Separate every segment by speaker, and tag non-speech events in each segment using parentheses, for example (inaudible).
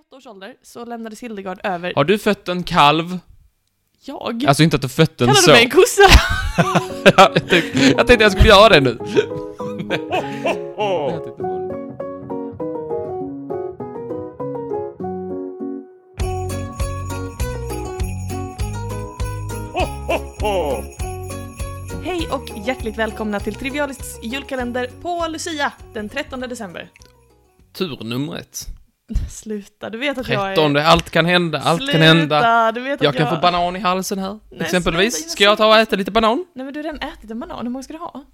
Speaker 1: åtta års ålder så lämnades Hildegard över...
Speaker 2: Har du fött en kalv?
Speaker 1: Jag?
Speaker 2: Alltså inte att du fött den
Speaker 1: Kallar
Speaker 2: så.
Speaker 1: du mig en kossa? (laughs)
Speaker 2: (laughs) jag, tänkte, jag tänkte jag skulle göra det nu. Jag tänkte bara-
Speaker 1: Hej och hjärtligt välkomna till Trivialists julkalender på Lucia den 13 december.
Speaker 2: Tur nummer ett.
Speaker 1: Sluta, du vet att jag är...
Speaker 2: 13, allt kan hända, allt
Speaker 1: Sluta,
Speaker 2: kan hända.
Speaker 1: du vet att
Speaker 2: Jag
Speaker 1: jag...
Speaker 2: kan få banan i halsen här,
Speaker 1: Nej, snälla,
Speaker 2: exempelvis.
Speaker 1: jag
Speaker 2: Ska jag ta och äta lite banan?
Speaker 1: Nej men du har redan ätit en banan, hur många ska du ha?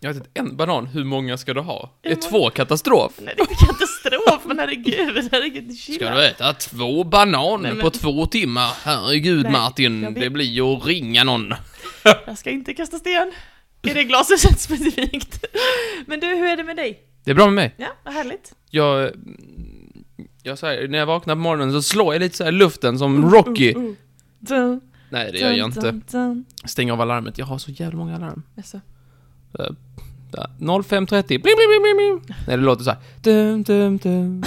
Speaker 2: Jag har ätit en banan, hur många ska du ha? Är
Speaker 1: Hur många?
Speaker 2: två katastrof?
Speaker 1: Nej det är inte katastrof, men herregud, (laughs) herregud,
Speaker 2: Ska
Speaker 1: chilla.
Speaker 2: du äta två bananer
Speaker 1: Nej, men-
Speaker 2: på två timmar? Herregud
Speaker 1: Nej,
Speaker 2: Martin,
Speaker 1: jag vet-
Speaker 2: det blir ju att ringa någon.
Speaker 1: Jag ska inte kasta sten. Är det glashuset specifikt? (laughs) Men du, hur är det med dig?
Speaker 2: Det är bra med mig.
Speaker 1: Ja, vad härligt.
Speaker 2: Jag... Jag säger, när jag vaknar på morgonen så slår jag lite så här i luften som Rocky.
Speaker 1: Uh, uh. Dun,
Speaker 2: Nej, det gör jag
Speaker 1: dun,
Speaker 2: inte.
Speaker 1: dun, dun.
Speaker 2: Stäng av alarmet. Jag har så jävla många alarm.
Speaker 1: Jaså.
Speaker 2: Där, 05.30. Blim, blim, blim, blim, blim. Nej, det låter så här. Dum, dum, dum.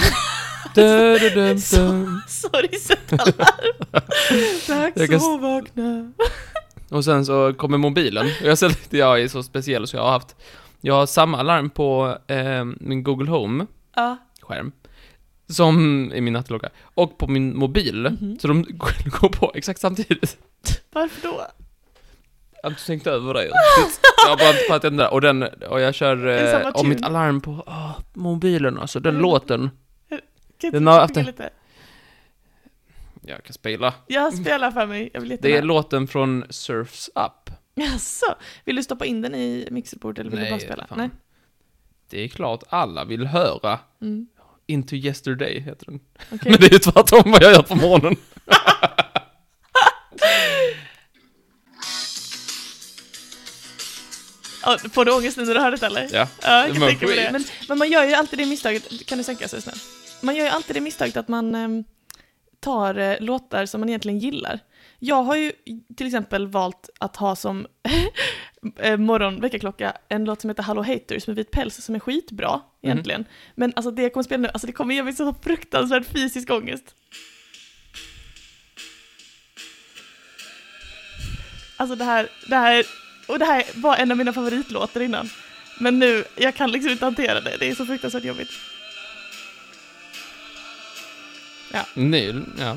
Speaker 2: Du, du, dum,
Speaker 1: (laughs)
Speaker 2: dum.
Speaker 1: Sorgset
Speaker 2: (laughs)
Speaker 1: alarm.
Speaker 2: Jag
Speaker 1: Dags
Speaker 2: kan-
Speaker 1: att vakna.
Speaker 2: Och sen så kommer mobilen. Och jag ser att jag är så speciell så jag har haft... Jag har samma alarm på eh, min Google Home-skärm.
Speaker 1: Ja,
Speaker 2: Som i min nattklocka. Och på min mobil.
Speaker 1: Mhm.
Speaker 2: Så de (laughs) går på exakt samtidigt.
Speaker 1: varför då?
Speaker 2: Jag har inte tänkt över det riktigt. Jag har bara inte fattat den där. Och den, och jag kör,
Speaker 1: Är det samma
Speaker 2: eh, och mitt
Speaker 1: tune?
Speaker 2: alarm på, ah, mobilen alltså, den
Speaker 1: Mm.
Speaker 2: låten.
Speaker 1: Kan
Speaker 2: Den
Speaker 1: inte
Speaker 2: har
Speaker 1: du
Speaker 2: haft
Speaker 1: sjunga
Speaker 2: en-
Speaker 1: lite?
Speaker 2: Jag kan spela.
Speaker 1: Jag spelar för mig, jag vill
Speaker 2: Det är
Speaker 1: jättegärna.
Speaker 2: låten från Surfs Up.
Speaker 1: Jaså, vill du stoppa in den i mixerbordet eller vill du bara spela?
Speaker 2: fan.
Speaker 1: Nej.
Speaker 2: Det är klart alla vill höra.
Speaker 1: Mm.
Speaker 2: Into Yesterday heter den.
Speaker 1: Okej.
Speaker 2: Men det är ju tvärtom vad jag gör på morgonen.
Speaker 1: Ja, får du ångest nu när du hör det eller?
Speaker 2: Ja.
Speaker 1: Ja, jag
Speaker 2: Det
Speaker 1: kan
Speaker 2: var
Speaker 1: tänka mig det.
Speaker 2: skit.
Speaker 1: Men, men man gör ju alltid det misstaget, kan du sänka så snäll? Man gör ju alltid det misstaget att man ehm, tar eh, låtar som man egentligen gillar. Jag har ju till exempel valt att ha som (laughs) eh, morgonväckarklocka en låt som heter Hello Haters med vit päls som är skitbra egentligen. Men alltså det jag kommer spela nu, alltså det kommer ge mig så fruktansvärd fysisk ångest. Alltså det här, det här, och det här var en av mina favoritlåtar innan. Men nu, jag kan liksom inte hantera det. Det är så fruktansvärt jobbigt.
Speaker 2: Nej, ja.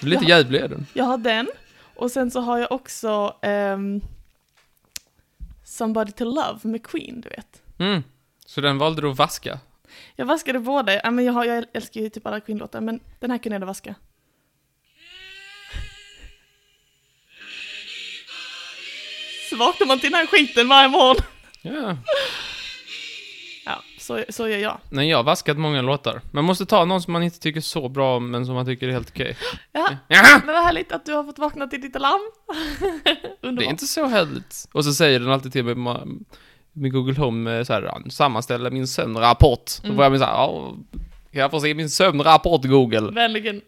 Speaker 2: Lite
Speaker 1: Jaha.
Speaker 2: jävlig är den.
Speaker 1: Jag har den. Och sen så har jag också ehm, Somebody to Love med Queen, du vet.
Speaker 2: Mm. Så den valde du att vaska.
Speaker 1: Jag vaskade båda. Ja, men jag, har, jag älskar ju typ alla Queen-låtar, men den här kunde jag ändå vaska. Så vaknar man till den här skiten varje morgon.
Speaker 2: Ja.
Speaker 1: Ja, så, så gör jag.
Speaker 2: Nej, jag har vaskat många låtar. Man måste ta någon som man inte tycker så bra om, men som man tycker är helt okej.
Speaker 1: Ja,
Speaker 2: Jaha!
Speaker 1: men vad härligt att du har fått vakna till ditt alarm. (laughs) Underbart.
Speaker 2: Det är inte så härligt. Och så säger den alltid till mig, ma- med Google Home, eh, så här, "Ja, sammanställa min sömnrapport. Då
Speaker 1: Mm.
Speaker 2: får jag mig så här, "Ja, kan jag få se min
Speaker 1: (laughs)
Speaker 2: sömnrapport Google?
Speaker 1: Vänligen.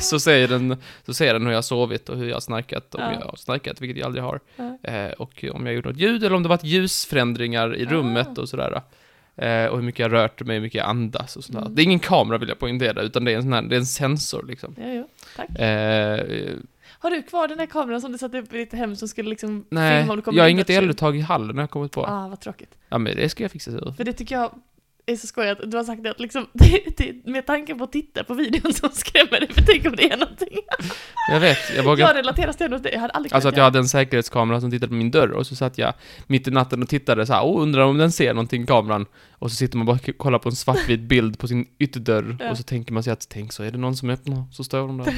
Speaker 2: så, säger den, så säger den hur jag har sovit och hur jag har snarkat, om
Speaker 1: Ja.
Speaker 2: jag har snarkat, vilket jag aldrig har.
Speaker 1: Ja.
Speaker 2: Eh, och om jag gjort något ljud eller om det varit ljusförändringar i
Speaker 1: Ah.
Speaker 2: rummet och sådär. Eh, och hur mycket jag rört mig, hur mycket jag andas och sånt där.
Speaker 1: Mm.
Speaker 2: Det är ingen kamera vill jag poängtera, utan det är en, sån här, det är en sensor liksom.
Speaker 1: Ja, ja. Tack.
Speaker 2: Eh,
Speaker 1: Har du kvar den där kameran som du satte upp i ditt hem som skulle liksom
Speaker 2: nej,
Speaker 1: filma om du kommer
Speaker 2: jag har
Speaker 1: in
Speaker 2: inget
Speaker 1: i ett
Speaker 2: eluttag i hallen har jag kommit på.
Speaker 1: kök? Ah, vad tråkigt.
Speaker 2: Ja, men det ska jag fixa. Så.
Speaker 1: För det tycker jag är så skoj att du har sagt det att liksom, (laughs) det, det, med tanke på att titta på videon som skrämmer dig, för tänk om det är någonting.
Speaker 2: Jag vet, jag vågar
Speaker 1: Jag relaterar stenhårt till det, jag hade aldrig
Speaker 2: Alltså att
Speaker 1: kunnat
Speaker 2: jag hade en säkerhetskamera som tittade på min dörr och så satt jag mitt i natten och tittade så här, oh, undrar om den ser någonting, kameran. Och så sitter man bara och kollar på en svartvit bild på sin (laughs) ytterdörr
Speaker 1: Ja.
Speaker 2: och så tänker man sig att, tänk så är det någon som öppnar, så står de där.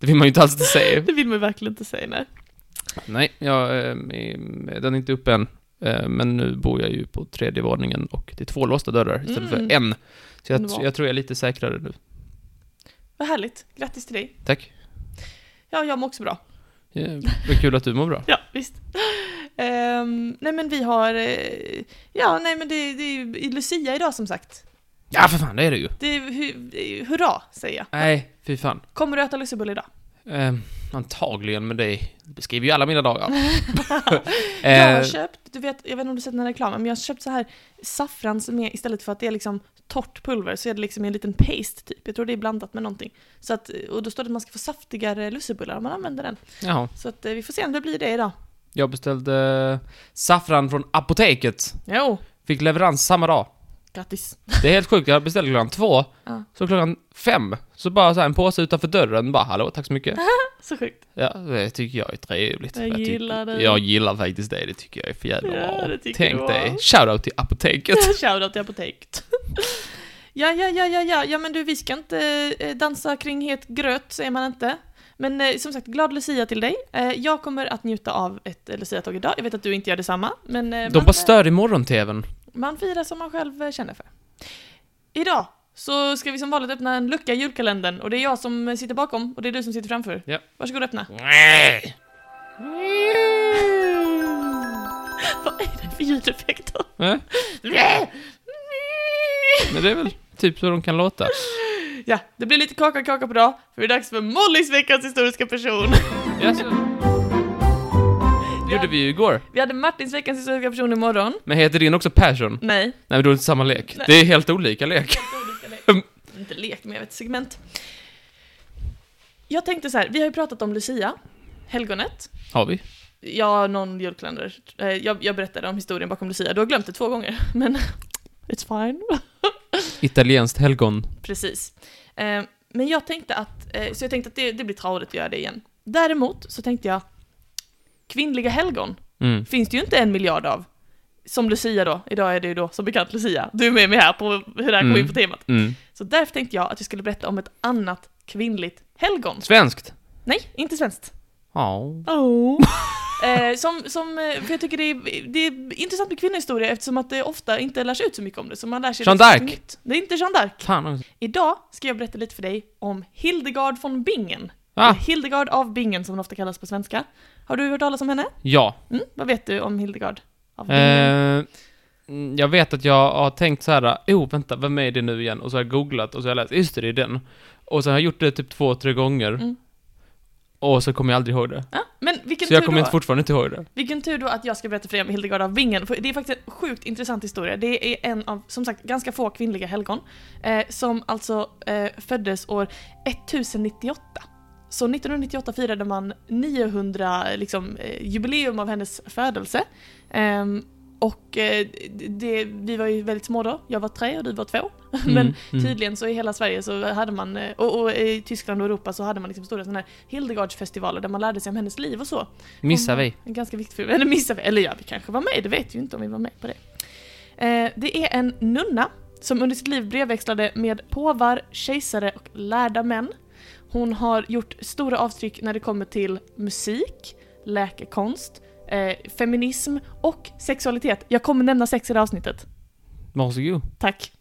Speaker 2: Det vill man ju inte alls se.
Speaker 1: göra. (laughs) Det vill man ju verkligen inte säga, nej.
Speaker 2: Nej, jag, eh, eh, den är inte uppe än. Eh, Men nu bor jag ju på tredje våningen och det är två låsta dörrar istället
Speaker 1: Mm.
Speaker 2: för en. Så jag,
Speaker 1: Underbart.
Speaker 2: jag tror jag är lite säkrare nu.
Speaker 1: Vad härligt, grattis till dig.
Speaker 2: Tack.
Speaker 1: Ja, jag mår också bra.
Speaker 2: Yeah. Vad kul att du mår bra.
Speaker 1: Ja, visst. (gasps) Ehm, nej men vi har, eh, ja nej men det, det är ju i Lucia idag som sagt.
Speaker 2: Ja, för fan, det är det ju.
Speaker 1: Det är, hu, det är- hurra, säger jag.
Speaker 2: Nej, fy fan.
Speaker 1: Kommer du äta lussebulle idag?
Speaker 2: Eh, antagligen, men det beskriver ju alla
Speaker 1: (laughs)
Speaker 2: mina dagar. (laughs) Ehm,
Speaker 1: Jag har
Speaker 2: Eh,
Speaker 1: köpt, du vet, jag vet inte om du sett den här reklamen, men jag har köpt så här saffran som är istället för att det är liksom torrt pulver så är det liksom i en liten paste typ. Jag tror det är blandat med någonting. Så att, och då står det att man ska få saftigare lussebullar om man använder den.
Speaker 2: Jaha.
Speaker 1: Så att eh, vi får se om det blir det idag.
Speaker 2: Jag beställde saffran från apoteket.
Speaker 1: Jo,
Speaker 2: Fick leverans samma dag.
Speaker 1: grattis.
Speaker 2: Det är helt sjukt, jag beställde klockan två.
Speaker 1: Ja.
Speaker 2: Så klockan fem, så bara så här en påse utanför dörren. Bara hallå, tack
Speaker 1: (laughs)
Speaker 2: så mycket.
Speaker 1: Så sjukt.
Speaker 2: Ja, det tycker jag är trevligt.
Speaker 1: Jag
Speaker 2: tycker-
Speaker 1: gillar det.
Speaker 2: Jag gillar faktiskt det, det tycker jag är för jävla
Speaker 1: Ja,
Speaker 2: bra.
Speaker 1: det tycker
Speaker 2: Tänk
Speaker 1: du
Speaker 2: dig,
Speaker 1: var.
Speaker 2: shoutout till apoteket.
Speaker 1: (laughs) Shoutout till apoteket. ja, ja, ja, ja, ja, ja, men du, vi ska inte eh, dansa kring het gröt, säger man inte. Men eh, som sagt, glad Lucia till dig. Eh, jag kommer att njuta av ett eh, Lucia-tåg idag. Jag vet att du inte gör detsamma, men eh,
Speaker 2: De
Speaker 1: man,
Speaker 2: bara stör
Speaker 1: (laughs)
Speaker 2: i morgon-tvn.
Speaker 1: man firar som man själv eh, känner för. Idag så ska vi som vanligt öppna en lucka i julkalendern och det är jag som eh, sitter bakom och det är du som sitter framför.
Speaker 2: Ja.
Speaker 1: Varsågod öppna. (laughs) Vad är det för ljudeffekter? (laughs)
Speaker 2: Eh? Men det är väl typ så de kan låta.
Speaker 1: Ja, det blir lite kaka kaka på dag, för det är dags för Mollys veckans historiska person. (laughs)
Speaker 2: Ja, så. Det gjorde vi ju igår.
Speaker 1: Vi hade Martins veckans historiska person imorgon.
Speaker 2: Men heter din också Persson?
Speaker 1: Nej.
Speaker 2: Nej, men då är det inte samma lek.
Speaker 1: Nej.
Speaker 2: Det är helt olika lek.
Speaker 1: Inte lek, men jag vet segment. Jag tänkte så här, vi har ju pratat om Lucia, helgonet.
Speaker 2: Har vi?
Speaker 1: Ja, någon julkalender. Eh, Jag, jag berättade om historien bakom Lucia, du har glömt det två gånger, (laughs) men it's fine.
Speaker 2: Italienskt helgon.
Speaker 1: Precis. Eh, Men jag tänkte att, eh, så jag tänkte att det, det blir tradigt att göra det igen. Däremot så tänkte jag, kvinnliga helgon
Speaker 2: Mm.
Speaker 1: finns det ju inte en miljard av. Som Lucia då, idag är det ju då som bekant Lucia. Du är med mig här på hur det här kom
Speaker 2: Mm.
Speaker 1: in på temat.
Speaker 2: Mm.
Speaker 1: Så därför tänkte jag att vi skulle berätta om ett annat kvinnligt helgon.
Speaker 2: Svenskt?
Speaker 1: Nej, inte svenskt.
Speaker 2: Ja. (laughs)
Speaker 1: Oh. eh, som, som, eh, för jag tycker det är, det är intressant med kvinnohistoria eftersom att det ofta inte lärs ut så mycket om det. Så man lär sig
Speaker 2: Jeanne
Speaker 1: liksom
Speaker 2: d'Arc.
Speaker 1: nytt. Det är inte Jeanne d'Arc.
Speaker 2: Fan också.
Speaker 1: Idag ska jag berätta lite för dig om Hildegard von Bingen.
Speaker 2: Ah.
Speaker 1: Eller Hildegard av Bingen som hon ofta kallas på svenska. Har du hört talas om henne?
Speaker 2: Ja.
Speaker 1: Mm? Vad vet du om Hildegard av Bingen?
Speaker 2: Eh, mm, jag vet att jag har tänkt så här, oh vänta, vem är det nu igen? Och så har jag googlat och så har jag läst, just det, det är den. Och sen har jag gjort det typ två, tre gånger.
Speaker 1: Mm.
Speaker 2: Och så kommer jag aldrig ihåg det.
Speaker 1: Ja, men vilken
Speaker 2: Så jag
Speaker 1: tur
Speaker 2: kommer
Speaker 1: då.
Speaker 2: inte fortfarande inte ihåg det.
Speaker 1: Vilken tur då att jag ska berätta för er om Hildegard av Bingen, för det är faktiskt en sjukt intressant historia. Det är en av, som sagt, ganska få kvinnliga helgon, eh, som alltså eh, föddes år 1098. Så 1998 firade man 900, liksom, eh, jubileum av hennes födelse. Ehm, och eh, det- det, vi var ju väldigt små då, jag var tre och du var två. (laughs) Men
Speaker 2: Mm, mm.
Speaker 1: Tydligen så i hela Sverige så hade man, eh, och, och i Tyskland och Europa så hade man liksom stora sådana här Hildegardsfestivaler där man lärde sig om hennes liv och så.
Speaker 2: Missar
Speaker 1: Hon-
Speaker 2: vi.
Speaker 1: En ganska viktig film. Eller missar vi, eller ja, vi kanske var med, det vet vi ju inte om vi var med på det. Eh, det är en nunna som under sitt liv brevväxlade med påvar, kejsare och lärda män. Hon har gjort stora avtryck när det kommer till musik, läkekonst, eh, feminism och sexualitet. Jag kommer nämna sex i det här avsnittet.
Speaker 2: Varsågod.
Speaker 1: Tack.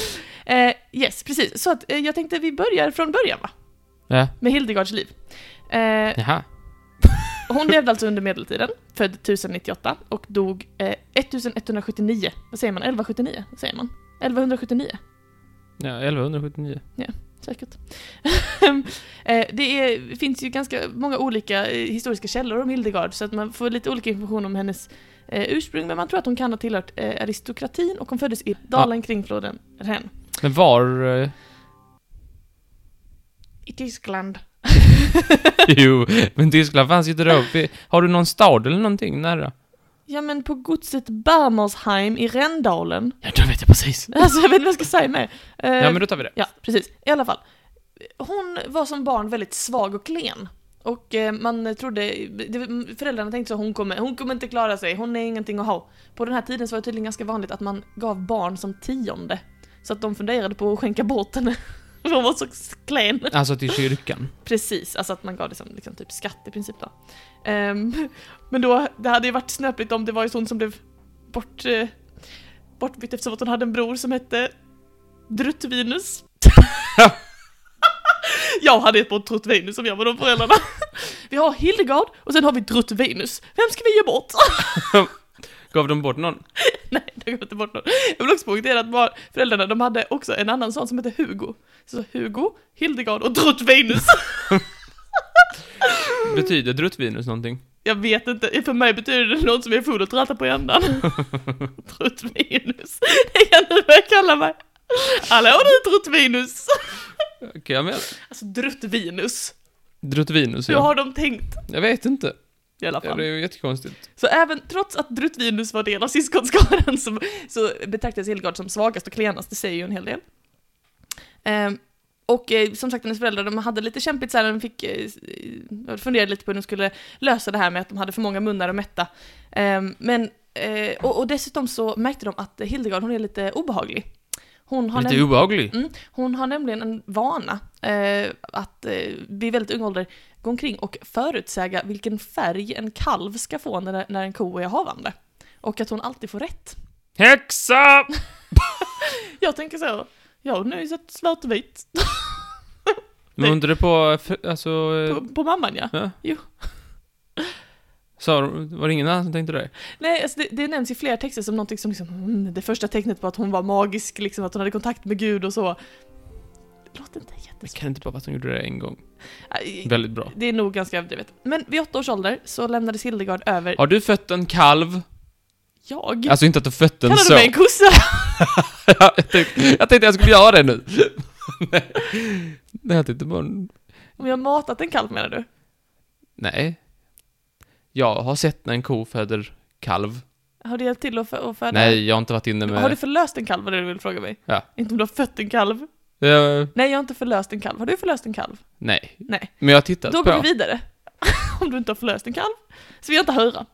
Speaker 1: (laughs) eh, yes, precis. Så att, eh, jag tänkte vi börjar från början va?
Speaker 2: Ja.
Speaker 1: Med Hildegards liv. Eh,
Speaker 2: Jaha.
Speaker 1: hon levde alltså under medeltiden, född 1098 och dog eh, 1179. Vad säger man? 1179? Vad säger man? 1179?
Speaker 2: Ja, 1179.
Speaker 1: Säkert. (laughs) Eh, det är, finns ju ganska många olika eh, historiska källor om Hildegard så att man får lite olika information om hennes eh, ursprung men man tror att hon kan ha tillhört eh, aristokratin och hon föddes i dalen kring floden Ren.
Speaker 2: Men var... eh, (laughs)
Speaker 1: I Tyskland.
Speaker 2: jo, men Tyskland fanns ju inte då. Vi- Har du någon stad eller någonting nära?
Speaker 1: Ja men på godset Bermersheim i Rendalen.
Speaker 2: Ja, då vet jag precis.
Speaker 1: (laughs) Alltså jag vet inte vad jag ska säga mer. Eh,
Speaker 2: Ja, men då tar vi det.
Speaker 1: ja, precis. I alla fall. Hon var som barn väldigt svag och klen. Och eh, man trodde, det, föräldrarna tänkte så hon kommer, hon kommer inte klara sig, hon är ingenting att ha. På den här tiden så var det tydligen ganska vanligt att man gav barn som tionde. Så att de funderade på att skänka bort henne. (laughs) För hon var så klen.
Speaker 2: Alltså till kyrkan.
Speaker 1: Precis, alltså att man gav det som liksom, typ skatt i princip då. Ehm, (laughs) men då, det hade ju varit snöpligt om det var ju sånt som blev bort, eh, bortbytt eftersom att hon hade en bror som hette Druttvinus. (laughs) jag hade ett bort Druttvinus om jag var de föräldrarna. (laughs) vi har Hildegard och sen har vi Druttvinus. Vem ska vi ge bort? (laughs)
Speaker 2: Gav de bort någon?
Speaker 1: Nej, det går inte bort någon. Jag vill också poängtera att bara föräldrarna, de hade också en annan son som hette Hugo. Så Hugo, (laughs) Hildegard och Druttvinus.
Speaker 2: Betyder druttvinus någonting?
Speaker 1: Jag vet inte, för mig betyder det något som är full och trattar på
Speaker 2: (laughs)
Speaker 1: ändan. Truttvinus. Det kan du börja kalla mig. Hallå du Truttvinus.
Speaker 2: Okej, jag med.
Speaker 1: Alltså Druttvinus.
Speaker 2: Druttvinus,
Speaker 1: Hur
Speaker 2: ja.
Speaker 1: har de tänkt
Speaker 2: Jag vet inte.
Speaker 1: i alla
Speaker 2: Ja,
Speaker 1: fall?
Speaker 2: det är ju jättekonstigt.
Speaker 1: Så även trots att Druttvinus var del av syskonskaran så, så betraktades Hildegard som svagast och klenast, det säger ju en hel del. Ehm, och eh, som sagt, hennes föräldrar de hade lite kämpigt så här, de fick, eh, s- eh, funderade lite på hur de skulle lösa det här med att de hade för många munnar att mätta. Ehm, men, eh, och, och dessutom så märkte de att Hildegard, hon är lite obehaglig. Hon har,
Speaker 2: Lite
Speaker 1: näml-
Speaker 2: obehaglig.
Speaker 1: hon har nämligen en vana eh, att eh, vid väldigt ung ålder gå omkring och förutsäga vilken färg en kalv ska få när, när en ko är havande. Och att hon alltid får rätt.
Speaker 2: Häxa!
Speaker 1: Jag tänker så, ja hon har ju sett svart och vitt
Speaker 2: Men undrar på, för- alltså... eh,
Speaker 1: på, på mamman ja.
Speaker 2: Ja?
Speaker 1: Jo.
Speaker 2: Sa de- var det ingen annan som tänkte det?
Speaker 1: Nej, alltså det, det nämns i flera texter som någonting som liksom, mm, det första tecknet på att hon var magisk, liksom att hon hade kontakt med Gud och så. Det låter inte
Speaker 2: Men
Speaker 1: jättesvårt.
Speaker 2: kan det inte bara vara att de gjorde det en gång?
Speaker 1: Nej,
Speaker 2: Väldigt bra.
Speaker 1: Det är nog ganska överdrivet. Men vid åtta års ålder så lämnades Hildegard över
Speaker 2: Har du fött en kalv?
Speaker 1: jag.
Speaker 2: Alltså inte att du fött en
Speaker 1: Kallar
Speaker 2: så.
Speaker 1: du mig en kossa?
Speaker 2: jag, tänkte, jag tänkte jag skulle göra
Speaker 1: (laughs)
Speaker 2: det nu. Nej. Nej, jag tänkte bara...
Speaker 1: Om jag matat en kalv menar du?
Speaker 2: Nej. Jag har sett när en ko föder kalv.
Speaker 1: Har du hjälpt till att, fö- att föda?
Speaker 2: Nej, jag har inte varit inne med...
Speaker 1: Har du förlöst en kalv var det du ville fråga mig?
Speaker 2: Ja.
Speaker 1: Inte om du har fött en kalv?
Speaker 2: Eh,
Speaker 1: Nej, jag har inte förlöst en kalv. Har du förlöst en kalv?
Speaker 2: nej.
Speaker 1: Nej.
Speaker 2: Men jag har tittat
Speaker 1: Då
Speaker 2: på.
Speaker 1: går vi vidare. (laughs) Om du inte har förlöst en kalv. Så vill jag inte höra.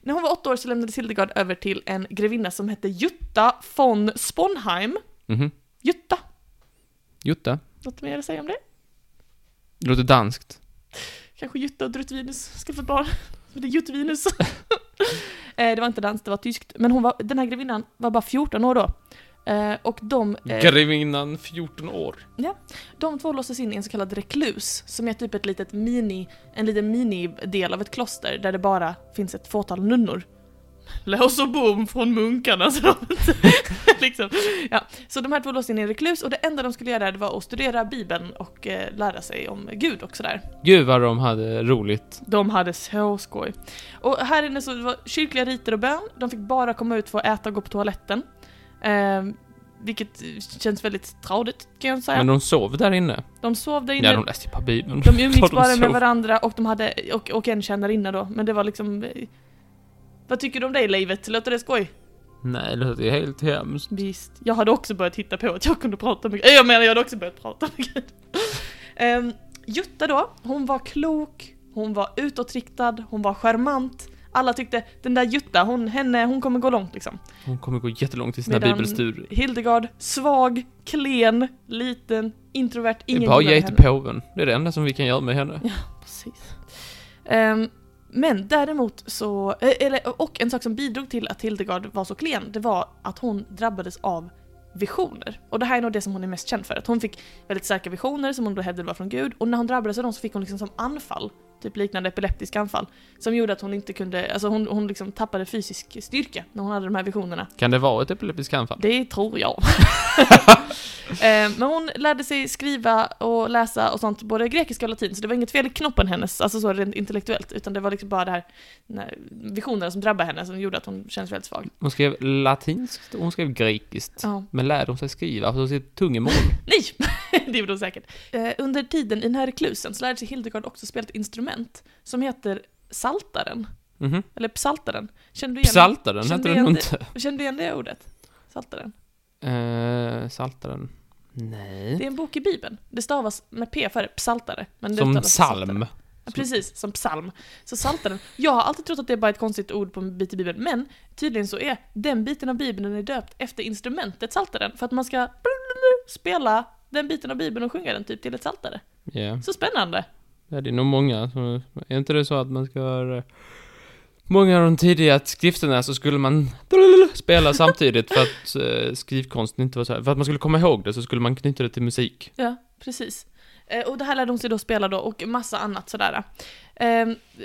Speaker 1: När hon var åtta år så lämnades Hildegard över till en grevinna som hette Jutta von Sponheim.
Speaker 2: Mhm.
Speaker 1: Jutta,
Speaker 2: Jutta.
Speaker 1: något mer att säga om det?
Speaker 2: Det låter danskt.
Speaker 1: Kanske Jutta och Drutvinus ska få barn. (laughs) Men det är (laughs) Juttvinus. Eh, det var inte danskt, det var tyskt. Men hon var, den här grevinnan var bara 14 år då. Eh, Och de, eh,
Speaker 2: Grevinnan 14 år.
Speaker 1: de två låstes in i en så kallad reklus, som är typ ett litet mini, en liten minidel av ett kloster där det bara finns ett fåtal nunnor. Lås och bom från munkarna, så de inte- (laughs) liksom. ja. Så de här två låstes in i en reklus och det enda de skulle göra där det var att studera bibeln och eh, lära sig om Gud och sådär.
Speaker 2: Gud vad de hade roligt.
Speaker 1: De hade så skoj. Och här inne så det var kyrkliga riter och bön. De fick bara komma ut för att äta och gå på toaletten. Ehm, vilket känns väldigt tradigt kan jag säga.
Speaker 2: Men
Speaker 1: De,
Speaker 2: de sov där inne.
Speaker 1: sov där inne.
Speaker 2: Ja, de läste ju bara Bibeln.
Speaker 1: de, umgicks
Speaker 2: Vad
Speaker 1: bara med
Speaker 2: sov.
Speaker 1: varandra och de hade, och, och en tjänarinna då. Men det var liksom... eh, Vad tycker du om det i livet? Låter det skoj?
Speaker 2: Nej, det låter ju helt hemskt.
Speaker 1: Visst, jag hade också börjat hitta på att jag kunde prata med Gud. Jag menar, jag hade också börjat prata med Gud. (laughs) Ehm, Jutta då, hon var klok, hon var utåtriktad, hon var charmant. Alla tyckte, den där Jutta, hon, henne, hon kommer gå långt liksom.
Speaker 2: Hon kommer gå jättelångt i sina
Speaker 1: Medan-
Speaker 2: bibelstudier.
Speaker 1: Hildegard, svag, klen, liten, introvert,
Speaker 2: Det är
Speaker 1: ingen
Speaker 2: bara
Speaker 1: gillade
Speaker 2: ge
Speaker 1: henne.
Speaker 2: till påven. Det är det enda som vi kan göra med henne.
Speaker 1: Precis. Ehm, men däremot så, eh, eller, och en sak som bidrog till att Hildegard var så klen, det var att hon drabbades av visioner. Och det här är nog det som hon är mest känd för, att hon fick väldigt starka visioner som hon då hävdade var från Gud, och när hon drabbades av dem så fick hon liksom som anfall, typ liknande epileptiska anfall, som gjorde att hon inte kunde, alltså hon, hon liksom tappade fysisk styrka när hon hade de här visionerna.
Speaker 2: Kan det vara ett epileptiskt anfall?
Speaker 1: Det tror
Speaker 2: (laughs)
Speaker 1: jag. Eh, Men hon lärde sig skriva och läsa och sånt, både grekiska och latin, så det var inget fel i knoppen hennes, alltså så rent intellektuellt, utan det var liksom bara det här när, visionerna som drabbade henne som gjorde att hon kändes väldigt svag.
Speaker 2: Hon skrev latinskt och hon skrev grekiskt.
Speaker 1: Ja.
Speaker 2: Men lärde hon sig skriva på
Speaker 1: (laughs)
Speaker 2: sitt tungomål?
Speaker 1: Nej! det gjorde hon säkert. Eh, Under tiden i den här reklusen så lärde sig Hildegard också spela ett instrument som heter saltaren,
Speaker 2: Mhm.
Speaker 1: eller psaltaren. Känner du igen,
Speaker 2: Psaltaren hette
Speaker 1: Kände
Speaker 2: den nog
Speaker 1: igen
Speaker 2: inte.
Speaker 1: känner du igen det ordet? Saltaren.
Speaker 2: Uh, saltaren. Nej.
Speaker 1: Det är en bok i Bibeln. Det stavas med P för psaltare. Men det
Speaker 2: Mm. Som
Speaker 1: uttalas Psaltaren.
Speaker 2: psalm.
Speaker 1: Ja, precis, som psalm. Så saltaren. Jag har alltid trott att det är bara ett konstigt ord på en bit i Bibeln, men tydligen så är den biten av Bibeln den är döpt efter instrumentet saltaren för att man ska spela den biten av Bibeln och sjunga den typ till ett saltare.
Speaker 2: Ja.
Speaker 1: Så spännande!
Speaker 2: Ja, det är nog många som... Är inte det så att man ska göra... Många av de tidiga skrifterna så skulle man spela samtidigt för att eh, skrivkonsten inte var så här. För att man skulle komma ihåg det så skulle man knyta det till musik.
Speaker 1: Ja, precis. Eh, Och det här lärde hon sig då spela då och massa annat sådär. Eh,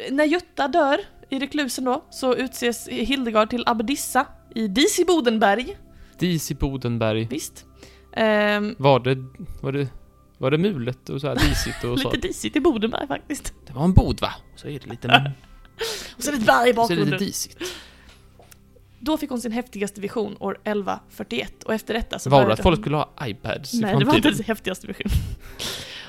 Speaker 1: när Jutta dör i reklusen då så utses Hildegard till abbedissa i Dis i Bodenberg.
Speaker 2: Dis i Bodenberg.
Speaker 1: Visst. Ehm,
Speaker 2: Var det... Var det... Var
Speaker 1: (laughs)
Speaker 2: det mulet och så här disigt och så?
Speaker 1: lite disigt i Bodenberg faktiskt. (laughs)
Speaker 2: Det var en bod va? Och så är det lite...
Speaker 1: Och sen ett berg i
Speaker 2: Så är det lite
Speaker 1: bakgrunden.
Speaker 2: disigt.
Speaker 1: Då fick hon sin häftigaste vision år 1141 och efter detta så
Speaker 2: Var det
Speaker 1: började
Speaker 2: att folk
Speaker 1: hon-
Speaker 2: skulle ha iPads i
Speaker 1: Nej, det var inte
Speaker 2: framtiden?
Speaker 1: hennes häftigaste vision. (laughs)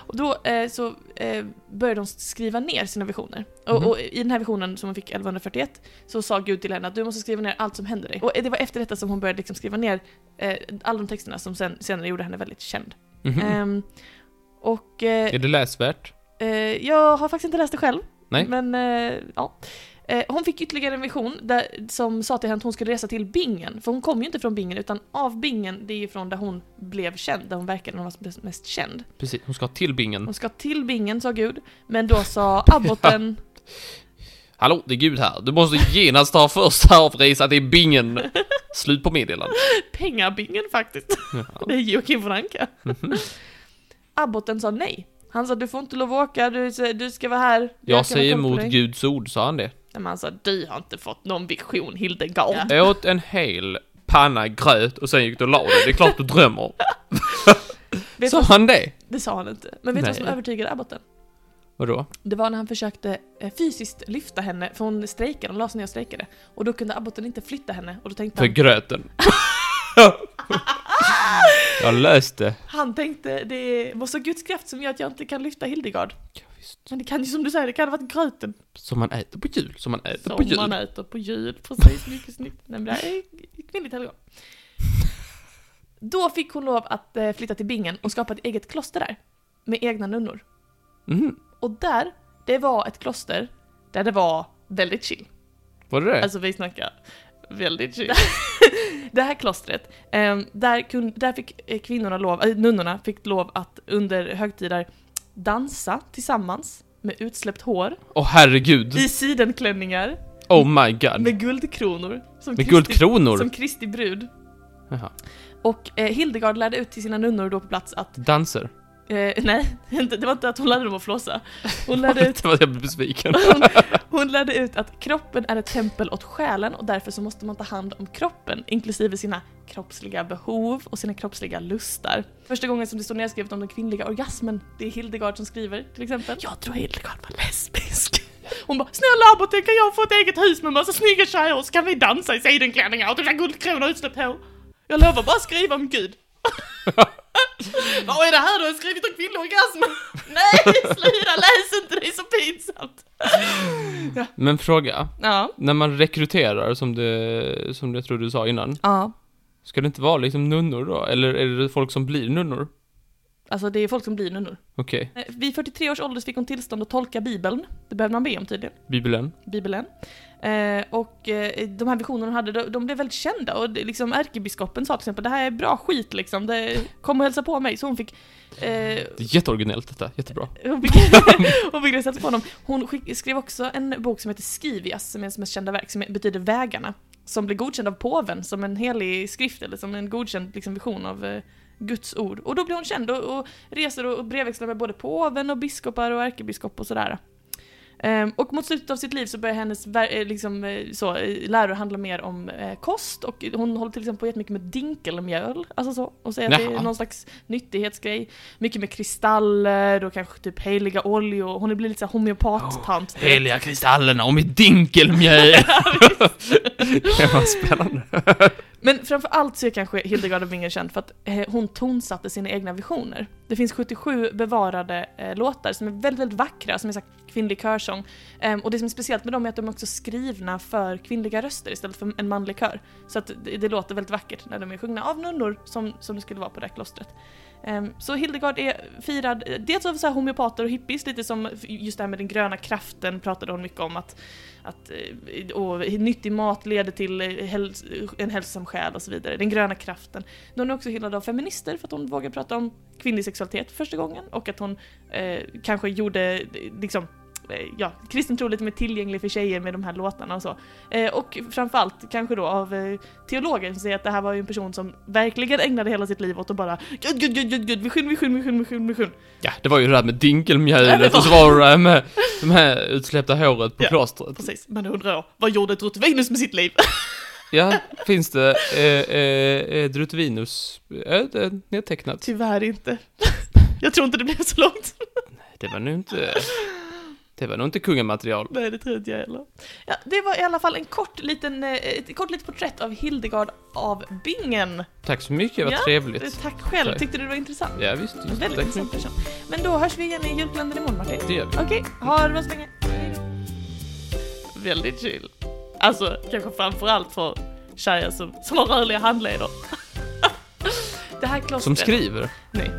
Speaker 1: Och då eh, så eh, började hon skriva ner sina visioner. Och,
Speaker 2: Mhm.
Speaker 1: och i den här visionen som hon fick 1141 så sa Gud till henne att du måste skriva ner allt som händer dig. Och eh, det var efter detta som hon började liksom skriva ner eh, alla de texterna som sen, senare gjorde henne väldigt känd.
Speaker 2: Mhm.
Speaker 1: Ehm, och eh,
Speaker 2: Är det läsvärt?
Speaker 1: eh, jag har faktiskt inte läst det själv.
Speaker 2: Nej.
Speaker 1: Men eh, ja. Eh, hon fick ytterligare en vision där, som sa till henne att hon skulle resa till Bingen. För hon kom ju inte från Bingen utan av Bingen, det är ju från där hon blev känd, där hon verkade när hon var mest- mest känd.
Speaker 2: Precis, hon ska till bingen.
Speaker 1: Hon ska till Bingen, sa Gud. Men då
Speaker 2: (laughs)
Speaker 1: sa abboten,
Speaker 2: Hallå, det är Gud här. Du måste genast ta första avresa till bingen. Slut på meddelandet.
Speaker 1: pengabingen faktiskt.
Speaker 2: Ja.
Speaker 1: (laughs)
Speaker 2: Mhm.
Speaker 1: Det är Joakim von Anka. (laughs) Abboten sa nej. Han sa du får inte lov att åka, du, du ska vara här.
Speaker 2: Jag
Speaker 1: kan
Speaker 2: säger
Speaker 1: kolla på
Speaker 2: emot
Speaker 1: dig."
Speaker 2: Guds ord, sa han det.
Speaker 1: Nej, Men han sa du har inte fått någon vision Hildegard.
Speaker 2: Åt en hel panna gröt och sen gick du och la dig. Det är klart du drömmer.
Speaker 1: (laughs) Vet
Speaker 2: Sa
Speaker 1: du-
Speaker 2: han det?
Speaker 1: Det sa han inte. Men vet du vad som
Speaker 2: Nej.
Speaker 1: övertygade abboten?
Speaker 2: Vadå?
Speaker 1: Det var när han försökte eh, fysiskt lyfta henne, för hon strejkade, hon la sig ner och strejkade. Och då kunde abboten inte flytta henne, och då tänkte
Speaker 2: För
Speaker 1: han,
Speaker 2: gröten.
Speaker 1: (laughs)
Speaker 2: Jag löste.
Speaker 1: han tänkte det var så Guds kraft som gör att jag inte kan lyfta Hildegard.
Speaker 2: Ja, visst.
Speaker 1: Men det kan ju som du säger, det kan ha varit gröten
Speaker 2: Som man äter på jul, som man äter på
Speaker 1: som
Speaker 2: jul.
Speaker 1: man äter på jul. Precis, mycket snyggt. Nej, men det här är kvinnligt helgon. Då fick hon lov att eh, flytta till Bingen och skapa ett eget kloster där. Med egna nunnor.
Speaker 2: Mhm.
Speaker 1: Och där, det var ett kloster där det var väldigt chill.
Speaker 2: Var det det?
Speaker 1: Alltså vi snackar väldigt
Speaker 2: (laughs)
Speaker 1: chill. det här klostret, ehm, där, kun, där fick eh, kvinnorna lov, äh, nunnorna fick lov att under högtider dansa tillsammans med utsläppt hår,
Speaker 2: Åh herregud.
Speaker 1: i sidenklänningar,
Speaker 2: Oh my god.
Speaker 1: med guldkronor. Som
Speaker 2: Med
Speaker 1: Kristi-
Speaker 2: guldkronor.
Speaker 1: Som Kristi brud.
Speaker 2: Jaha.
Speaker 1: Och eh, Hildegard lärde ut till sina nunnor då på plats att,
Speaker 2: Danser.
Speaker 1: eh, (laughs) nej, inte- det var inte att hon lärde dem att flåsa. Hon
Speaker 2: (laughs)
Speaker 1: lärde, ut,
Speaker 2: Det var jag blev besviken.
Speaker 1: hon, hon lärde ut att kroppen är ett tempel åt själen och därför så måste man ta hand om kroppen, inklusive sina kroppsliga behov och sina kroppsliga lustar. Första gången som det står nedskrivet om den kvinnliga orgasmen, det är Hildegard som skriver till exempel. Jag tror Hildegard var lesbisk. Hon bara “Snälla Abboten, kan jag få ett eget hus med massa snygga tjejer så kan vi dansa i sidenklänningar och dricka guldkronor och utsläppt hår?” Jag lovar bara skriva om Gud. Vad är det här du har skrivit om kvinnlig (laughs) orgasm? Nej, sluta läs inte, det är så pinsamt.
Speaker 2: Men fråga.
Speaker 1: Ja.
Speaker 2: När man rekryterar, som det, som jag tror du sa innan,
Speaker 1: Ja.
Speaker 2: ska det inte vara liksom nunnor då? Eller är det folk som blir nunnor?
Speaker 1: Alltså det är folk som blir nunnor.
Speaker 2: Okej,
Speaker 1: Eh, Vid 43 års ålder så fick hon tillstånd att tolka bibeln. Det behövde man be om tydligen.
Speaker 2: Bibeln.
Speaker 1: Bibeln. Eh, och eh, de här visionerna hon hade, de, de blev väldigt kända. Och det, liksom ärkebiskopen sa till exempel, det här är bra skit liksom. Det, kom och hälsa på mig. Så hon fick... Eh,
Speaker 2: Det är jätteoriginellt detta, jättebra.
Speaker 1: hon fick, (laughs) hon fick sätta på honom. Hon skick, skrev också en bok som heter Skrivias, som är hennes mest kända verk, som betyder Vägarna. Som blev godkänd av påven som en helig skrift, eller som en godkänd liksom, vision av eh, Guds ord. Och då blev hon känd och, och reser och, och brevväxlar med både påven och biskopar och ärkebiskop och sådär. Ehm, och mot slutet av sitt liv så börjar hennes ver- eh, liksom, eh, så, eh, läror handla mer om eh, kost och hon håller till exempel på jättemycket med dinkelmjöl, alltså så, och säger att det är
Speaker 2: Jaha.
Speaker 1: någon slags nyttighetsgrej. Mycket med kristaller och kanske typ heliga oljor, hon blir lite såhär homeopattant. typ.
Speaker 2: Heliga kristallerna och mitt dinkelmjöl! (laughs) det var spännande.
Speaker 1: Men framför allt så är kanske Hildegard av Bingen känd för att eh, hon tonsatte sina egna visioner. Det finns 77 bevarade eh, låtar som är väldigt, väldigt vackra, som är så här kvinnlig körsång. Ehm, och det som är speciellt med dem är att de är också skrivna för kvinnliga röster istället för en manlig kör. Så att det, det låter väldigt vackert när de är sjungna av nunnor, som, som det skulle vara på det här klostret. Ehm, så Hildegard är firad, eh, dels av så här homeopater och hippies, lite som just det här med den gröna kraften pratade hon mycket om att att, eh, och nyttig mat leder till eh, häl- en hälsosam själ och så vidare, den gröna kraften. Hon är också hyllad av feminister för att hon vågar prata om kvinnlig sexualitet för första gången och att hon eh, kanske gjorde eh, liksom eh, Ja, kristen tro lite mer tillgänglig för tjejer med de här låtarna och så. Eh, och framförallt kanske då av eh, teologer som säger att det här var ju en person som verkligen ägnade hela sitt liv åt att bara Gud, gud, gud, gud, gud, vision, vision, vision, vision, vision.
Speaker 2: Ja, det var ju det där med dinkelmjölet och så var det det där med de här utsläppta håret på
Speaker 1: Ja.
Speaker 2: klostret.
Speaker 1: Precis, men då undrar jag, vad gjorde Trott Venus med sitt liv?
Speaker 2: Ja, finns det eh, eh, eh, Drutvinus eh, det är nedtecknat?
Speaker 1: (laughs) Tyvärr inte. Jag tror inte det blev så långt.
Speaker 2: Det var nu inte... Det var nog inte kungamaterial.
Speaker 1: Nej, det tror inte jag heller. Ja, det var i alla fall en kort liten, eh, ett kort litet porträtt av Hildegard av Bingen.
Speaker 2: Tack så mycket, vad
Speaker 1: Ja, Eh,
Speaker 2: trevligt.
Speaker 1: Tack själv,
Speaker 2: Tack.
Speaker 1: tyckte du det var intressant?
Speaker 2: Ja, visst.
Speaker 1: En
Speaker 2: visst.
Speaker 1: Väldigt
Speaker 2: Tack så
Speaker 1: intressant
Speaker 2: mycket.
Speaker 1: person. Men då hörs vi igen i julkalendern imorgon Martin.
Speaker 2: Det gör vi.
Speaker 1: Okej, ha det bra så länge. Hej då. Väldigt chill. Alltså, kanske framförallt för tjejer som, som har rörliga handleder. (laughs) det här klostret.
Speaker 2: Som skriver.
Speaker 1: Nej.